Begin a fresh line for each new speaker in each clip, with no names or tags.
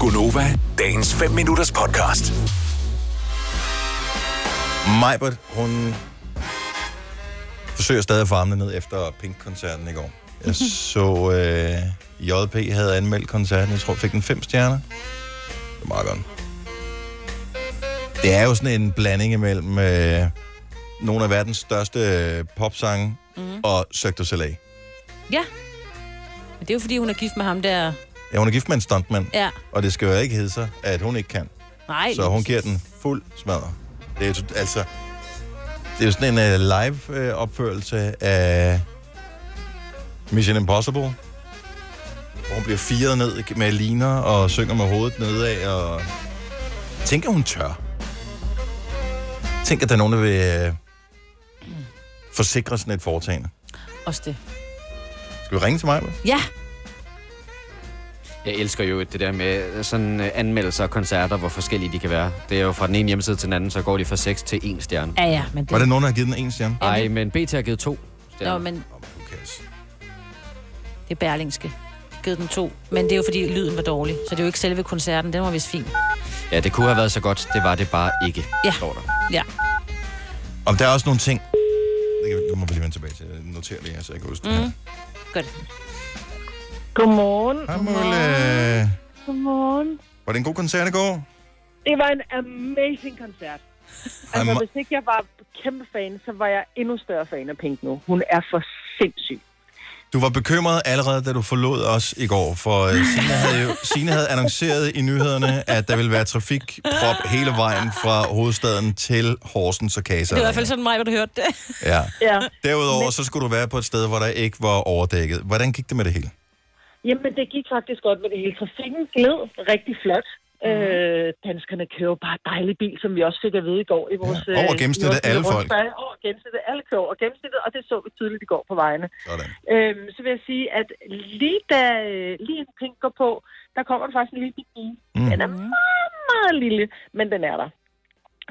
Gunova, dagens 5 minutters podcast.
Majbert, hun forsøger stadig at farme ned efter Pink-koncerten i går. Jeg så, øh, JP havde anmeldt koncerten. Jeg tror, fik den fem stjerner. Det er meget godt. Det er jo sådan en blanding imellem øh, nogle af verdens største øh, popsange mm. og Cirque du Soleil.
Ja. Men det er jo, fordi hun er gift med ham der.
Ja, hun er gift med en stuntmand,
Ja.
og det skal jo ikke hedde sig, at hun ikke kan.
Nej.
Så hun giver den fuld smadre. Det er jo, altså, det er jo sådan en uh, live-opførelse af Mission Impossible. Hvor hun bliver firet ned med liner og synger med hovedet nedad. Og... Tænk, at hun tør. Tænk, at der er nogen, der vil uh, forsikre sådan et foretagende.
Også det.
Skal vi ringe til mig?
Ja.
Jeg elsker jo det der med sådan øh, anmeldelser af koncerter, hvor forskellige de kan være. Det er jo fra den ene hjemmeside til den anden, så går de fra 6 til 1 stjerne.
Ja, ja. Men det...
Var der nogen, der har givet den en stjerne?
Ej, men BT har givet 2 stjerner.
Nå,
Åh,
men
men du kan altså-
det er Berlingske. Givet den to. Men det er jo, fordi lyden var dårlig. Så det er jo ikke selve koncerten. Den var vist fin.
Ja, det kunne have været så godt, det var det bare ikke,
Ja.
står der.
Ja.
Og der er også nogle ting... Det kan- Nu må vi lige vende tilbage til. Jeg noterer lige, her, så jeg kan huske det her.
Godt.
Godmorgen.
Hej, Mulle.
Godmorgen.
Var det en god koncert i går?
Det var en amazing koncert. Altså,
Am-
hvis ikke jeg var kæmpe fan, så var jeg endnu større fan af Pink nu. Hun er for sindssyg.
Du var bekymret allerede, da du forlod os i går, for øh, Signe havde, jo, Signe havde annonceret i nyhederne, at der ville være trafikprop hele vejen fra hovedstaden til Horsens og Kasa.
Det var i hvert fald sådan mig, hvor du hørte det.
Ja.
Ja.
Derudover så skulle du være på et sted, hvor der ikke var overdækket. Hvordan gik det med det hele?
Jamen, det gik faktisk godt med det hele. Trafikken gled rigtig flot. Mm. Øh, danskerne kører jo bare dejlig bil, som vi også fik at vide i går. I vores,
Ja, over
øh,
gennemsnittet
i vores
alle
lille
folk.
rundspørg. Over gennemsnittet alle kører over gennemsnittet, og det så vi tydeligt i går på vejene.
Sådan.
Øhm, så vil jeg sige, at lige da øh, lige en pink går på, der kommer der faktisk en lille bit bil.
Mm.
Den er meget, meget lille, men den er der.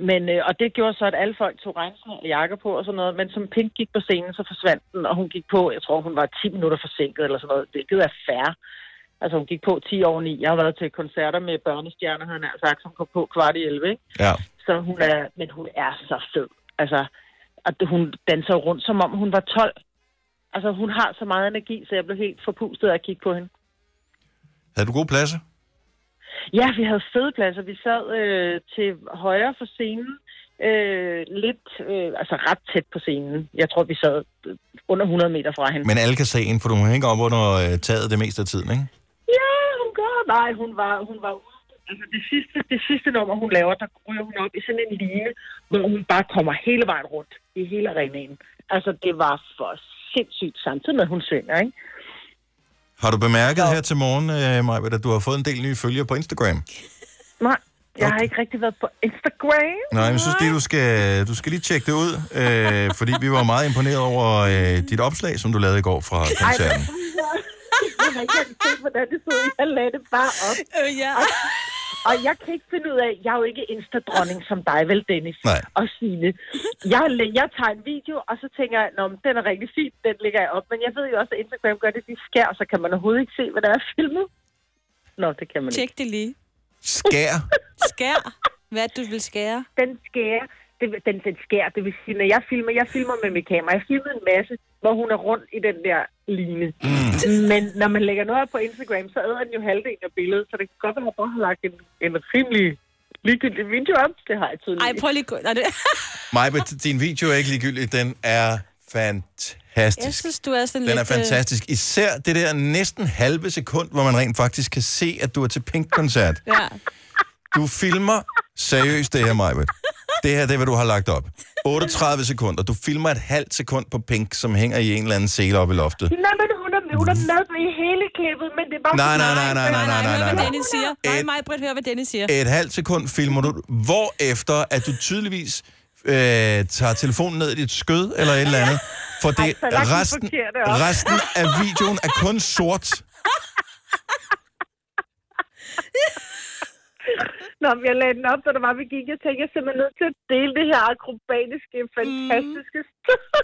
Men, øh, og det gjorde så, at alle folk tog regnsmænd og jakker på og sådan noget, men som Pink gik på scenen, så forsvandt den, og hun gik på, jeg tror, hun var 10 minutter forsinket eller sådan noget, hvilket er færre. Altså, hun gik på 10 over 9. Jeg har været til koncerter med børnestjerner, han har sagt, som kom på kvart i 11, ikke?
Ja.
Så hun er, men hun er så fed. Altså, at hun danser rundt, som om hun var 12. Altså, hun har så meget energi, så jeg blev helt forpustet af at kigge på hende.
Havde du gode pladser?
Ja, vi havde fede pladser. Vi sad øh, til højre for scenen, øh, lidt, øh, altså ret tæt på scenen. Jeg tror, vi sad øh, under 100 meter fra hende.
Men alle kan se en, for du hænger op under øh, taget det meste af tiden, ikke?
Ja, hun gør. Nej, hun var, hun var ude. Altså det sidste, det sidste nummer, hun laver, der ryger hun op i sådan en line, hvor hun bare kommer hele vejen rundt i hele arenaen. Altså det var for sindssygt, samtidig med, at hun synger, ikke?
Har du bemærket her til morgen, øh, Maja, at du har fået en del nye følgere på Instagram?
Nej, jeg har ikke rigtig været på Instagram.
Nej, men jeg synes lige, du skal, du skal lige tjekke det ud, øh, fordi vi var meget imponeret over øh, dit opslag, som du lavede i går fra koncerten.
Jeg har ikke rigtig set, hvordan det så ud. Jeg lagde det bare op.
Øh, ja.
Og jeg kan ikke finde ud af, jeg er jo ikke instadronning som dig, vel Dennis
Nej.
og Signe. Jeg, læ- jeg tager en video, og så tænker jeg, at den er rigtig fin, den lægger jeg op. Men jeg ved jo også, at Instagram gør det, de skær, så kan man overhovedet ikke se, hvad der er filmet. Nå, det kan man ikke.
Tjek det lige.
Skær.
Skær. Hvad du vil skære.
Den skær, det, vil- den, den skær, det vil sige, når jeg filmer, jeg filmer med mit kamera. Jeg filmede en masse, hvor hun er rundt i den der line. Mm. Men når man lægger noget op på Instagram, så æder den jo halvdelen af billedet, så det kan godt være, at jeg bare har lagt en, en rimelig ligegyldig video op. Det har jeg tydeligvis.
Ej, prøv lige... gå- Nej, det...
Maja, din video er ikke ligegyldig. Den er fantastisk.
Jeg synes, du er sådan lidt...
Den er
øh,
fantastisk. Især det der næsten halve sekund, hvor man rent faktisk kan se, at du er til Pink-koncert.
Ja.
Du filmer seriøst det her, Maja. Det her, det er, hvad du har lagt op. 38 sekunder. Du filmer et halvt sekund på Pink, som hænger i en eller anden sele oppe i loftet.
Nej, men hun er, hun er med i hele klippet, men det er bare...
Nej, nej, nej, nej, nej,
Nej,
nej, nej,
hør, hvad
nej.
Dennis siger. Nej,
Et-
mig, Britt, hør, hvad Dennis siger.
et halvt sekund filmer du, hvorefter at du tydeligvis øh, tager telefonen ned i dit skød eller et eller andet. For det,
så langt Altså,
resten,
den forkerte op.
resten af videoen er kun sort.
om. Jeg lagde den op, da der var, vi gik. Jeg tænkte, jeg er simpelthen nødt til at dele det her akrobatiske,
Mm.
fantastiske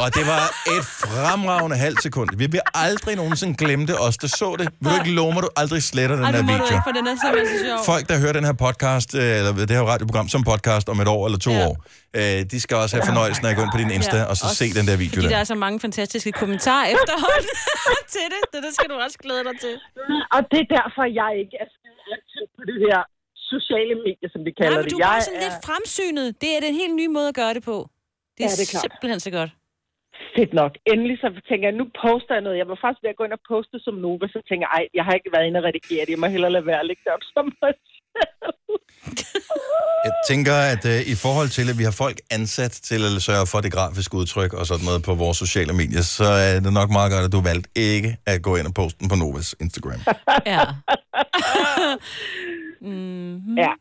Og det var et fremragende halvt sekund. Vi vil aldrig nogensinde glemme det, os der så det. Vil du ikke love mig, du aldrig sletter den
Ej,
her
nu må du
video?
ikke, for den er simpelthen så sjov.
Folk, der hører den her podcast, øh, eller det her radioprogram som podcast om et år eller to
Ja.
år, øh, de skal også have fornøjelsen af at gå ind på din Insta og så
også
se den der video
Fordi der
der.
er så mange fantastiske kommentarer efterhånden til det. Det, det skal du også glæde dig til.
Og det er derfor, jeg ikke er skide aktiv på det her sociale medier, som de kalder
Nej, men du
det.
er
Jeg
bare sådan lidt fremsynet. Det er den helt nye måde at gøre det på. Det er,
Ja, det er klart.
simpelthen så godt.
fedt nok. Endelig så tænker jeg, nu poster jeg noget. Jeg var faktisk ved at gå ind og poste som Nova, så tænker jeg, ej, jeg har ikke været inde og redigere det. Jeg må hellere lade være at lægge det op som mig selv."
Jeg tænker, at øh, i forhold til, at vi har folk ansat til at sørge for det grafiske udtryk og sådan noget på vores sociale medier, så er det nok meget godt, at du valgte ikke at gå ind og poste den på Novas Instagram.
Ja.
Ja.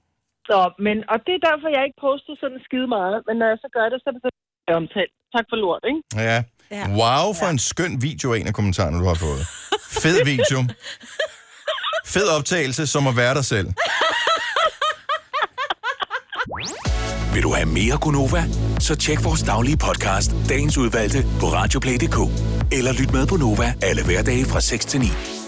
Så, men, og det er derfor, jeg ikke poster sådan skide meget. Men når jeg så gør det, så er det sådan omtalt. Tak for lort, ikke?
Ja.
Ja.
Wow, for en skøn video er en af kommentarerne, du har fået. Fed video. Fed optagelse, som at være dig selv.
Vil du have mere Gunova? Så tjek vores daglige podcast, dagens udvalgte, på radioplay.dk. Eller lyt med på Nova alle hverdage fra 6 til 9.